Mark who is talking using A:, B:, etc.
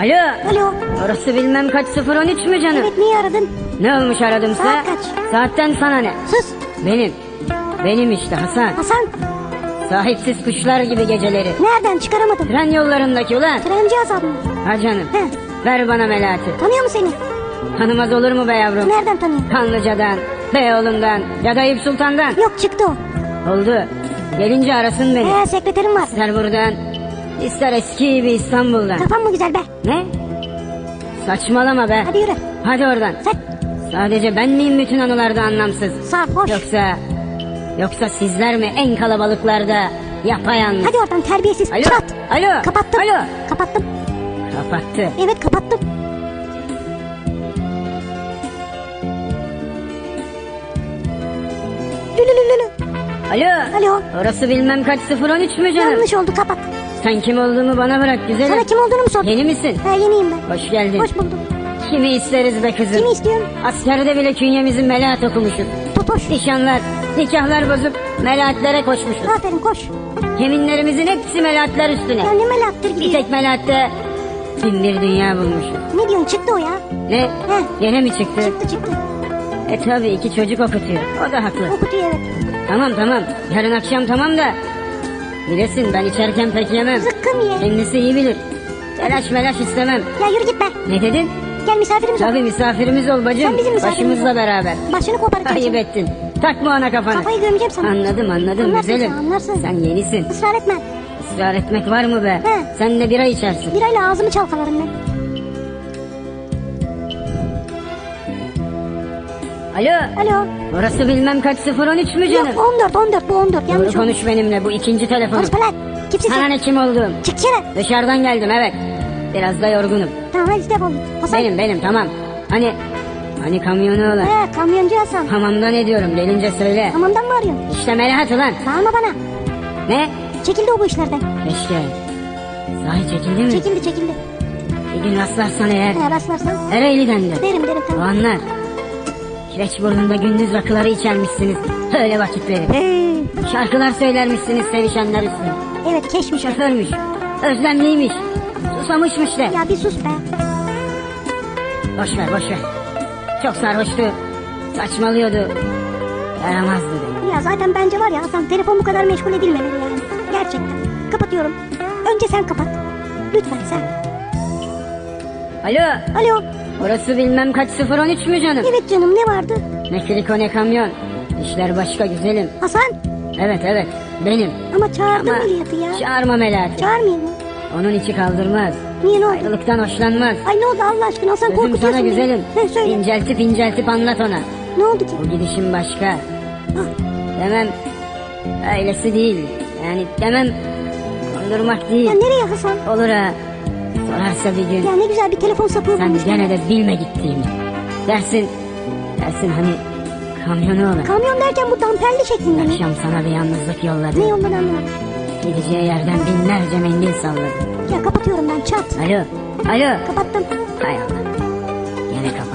A: Alo.
B: Alo.
A: Orası bilmem kaç 013 mü canım?
B: Evet niye aradın?
A: Ne olmuş aradımsa?
B: Saat kaç?
A: Saatten sana ne?
B: Sus.
A: Benim. Benim işte Hasan.
B: Hasan
A: Sahipsiz kuşlar gibi geceleri.
B: nereden çıkaramadım?
A: Tren yollarındaki ulan.
B: Trenci Hasan mı?
A: Ha canım.
B: He.
A: Ver bana melati.
B: Tanıyor mu seni?
A: Tanımaz olur mu be yavrum?
B: Nereden tanıyor?
A: Kanlıca'dan, Beyoğlu'ndan ya da Eyüp Sultan'dan.
B: Yok çıktı o.
A: Oldu. Gelince arasın beni.
B: He sekreterim var.
A: İster buradan, ister eski gibi İstanbul'dan.
B: Kafan mı güzel be?
A: Ne? Saçmalama be.
B: Hadi yürü.
A: Hadi oradan.
B: Sen
A: Sadece ben miyim bütün anılarda anlamsız?
B: sağ hoş.
A: Yoksa yoksa sizler mi en kalabalıklarda yapayalnız?
B: Hadi oradan terbiyesiz.
A: Alo.
B: Kapat.
A: Alo.
B: Kapattım.
A: Alo.
B: Kapattım.
A: Kapattı.
B: Evet kapattım. Lülülülülü.
A: Alo.
B: Alo.
A: Orası bilmem kaç 013 mü canım?
B: Yanlış oldu kapat.
A: Sen kim olduğumu bana bırak güzelim.
B: Sana kim olduğunu mu sor?
A: Yeni misin?
B: Ha yeniyim ben.
A: Hoş geldin.
B: Hoş buldum.
A: Kimi isteriz be kızım?
B: Kimi istiyorsun?
A: Askerde bile künyemizin melahat okumuşuz.
B: Totoş.
A: Nişanlar, nikahlar bozup melahatlere koşmuşuz.
B: Aferin koş.
A: Yeminlerimizin hepsi melahatler üstüne.
B: Ya ne melahattır
A: Bir
B: gidiyor.
A: tek melahatte bin bir dünya bulmuşuz.
B: Ne diyorsun çıktı o ya.
A: Ne?
B: Heh.
A: Gene mi çıktı?
B: Çıktı çıktı.
A: E tabi iki çocuk okutuyor. O da haklı.
B: O kutuyu evet.
A: Tamam tamam. Yarın akşam tamam da. Bilesin ben içerken pek yemem.
B: Zıkkım ye.
A: Kendisi iyi bilir. Telaş melaş istemem.
B: Ya yürü git be.
A: Ne dedin?
B: Gel misafirimiz ol.
A: Tabi misafirimiz ol bacım.
B: Sen bizim misafirimiz
A: Başımızla
B: ol.
A: beraber.
B: Başını koparacağım.
A: Ayıp
B: seni.
A: ettin. Takma ona kafanı.
B: Kafayı gömeceğim sana.
A: Anladım anladım
B: Anlarsın
A: güzelim.
B: sen, anlarsın.
A: Sen yenisin.
B: Israr etme.
A: Israr etmek var mı be?
B: He.
A: Sen de bira içersin.
B: Birayla ağzımı çalkalarım ben.
A: Alo.
B: Alo.
A: Orası bilmem kaç 013 mü canım?
B: Yok 14 14 bu 14
A: Doğru
B: yanlış oldu.
A: konuş benimle bu ikinci telefonum.
B: Barış Palat. Kimsin
A: Sana
B: sen?
A: ne kim olduğum?
B: Çık dışarı.
A: Dışarıdan geldim evet. Biraz da yorgunum.
B: Tamam hadi defol. Hasan.
A: Benim benim tamam. Hani hani kamyonu olan.
B: He kamyoncu Hasan.
A: Hamamda ne diyorum gelince söyle.
B: Hamamdan mı arıyorsun?
A: İşte melahat ulan.
B: Bağırma bana.
A: Ne?
B: Çekildi o bu işlerden.
A: Keşke. Sahi çekildi mi?
B: Çekildi çekildi.
A: Bir gün rastlarsan eğer.
B: He rastlarsan.
A: Ereğli'den de.
B: Derim derim
A: O
B: tamam.
A: anlar. Kireçburnu'nda gündüz rakıları içermişsiniz. Öyle vakitleri.
B: Hey.
A: Şarkılar söylermişsiniz sevişenler üstüne.
B: Evet keşmiş. o.
A: Şoförmüş. Özlemliymiş. Susamışmış de.
B: Ya bir sus be.
A: Boş ver boş ver. Çok sarhoştu. Saçmalıyordu. Yaramazdı beni.
B: Ya zaten bence var ya Hasan telefon bu kadar meşgul edilmemeli yani. Gerçekten. Kapatıyorum. Önce sen kapat. Lütfen sen.
A: Alo.
B: Alo.
A: Orası bilmem kaç 013 mü canım?
B: Evet canım ne vardı?
A: Ne kriko ne kamyon. İşler başka güzelim.
B: Hasan.
A: Evet evet benim.
B: Ama çağırdım
A: Ama
B: ameliyatı ya.
A: çağırma Melahat.
B: Çağırmayayım mı?
A: Onun içi kaldırmaz.
B: Niye ne oldu?
A: Ayrılıktan hoşlanmaz.
B: Ay ne oldu Allah aşkına Hasan
A: Sözüm
B: korkutuyorsun
A: sana
B: beni.
A: güzelim.
B: He söyle.
A: İnceltip inceltip anlat ona.
B: Ne oldu ki?
A: Bu gidişin başka.
B: Ah,
A: Demem öylesi değil. Yani demem kandırmak değil.
B: ya nereye Hasan?
A: Olur ha. Sorarsa bir gün
B: Ya ne güzel bir telefon sapığı
A: sen
B: bulmuş.
A: gene de bilme gittiğimi. Dersin, dersin hani kamyonu olan.
B: Kamyon derken bu damperli şeklinde mi?
A: Akşam sana bir yalnızlık yolladı.
B: Ne yoldan anlamadım.
A: Gideceği yerden binlerce mendil salladı.
B: Ya kapatıyorum ben çat.
A: Alo, alo.
B: Kapattım.
A: Hay Allah. Gene kapat.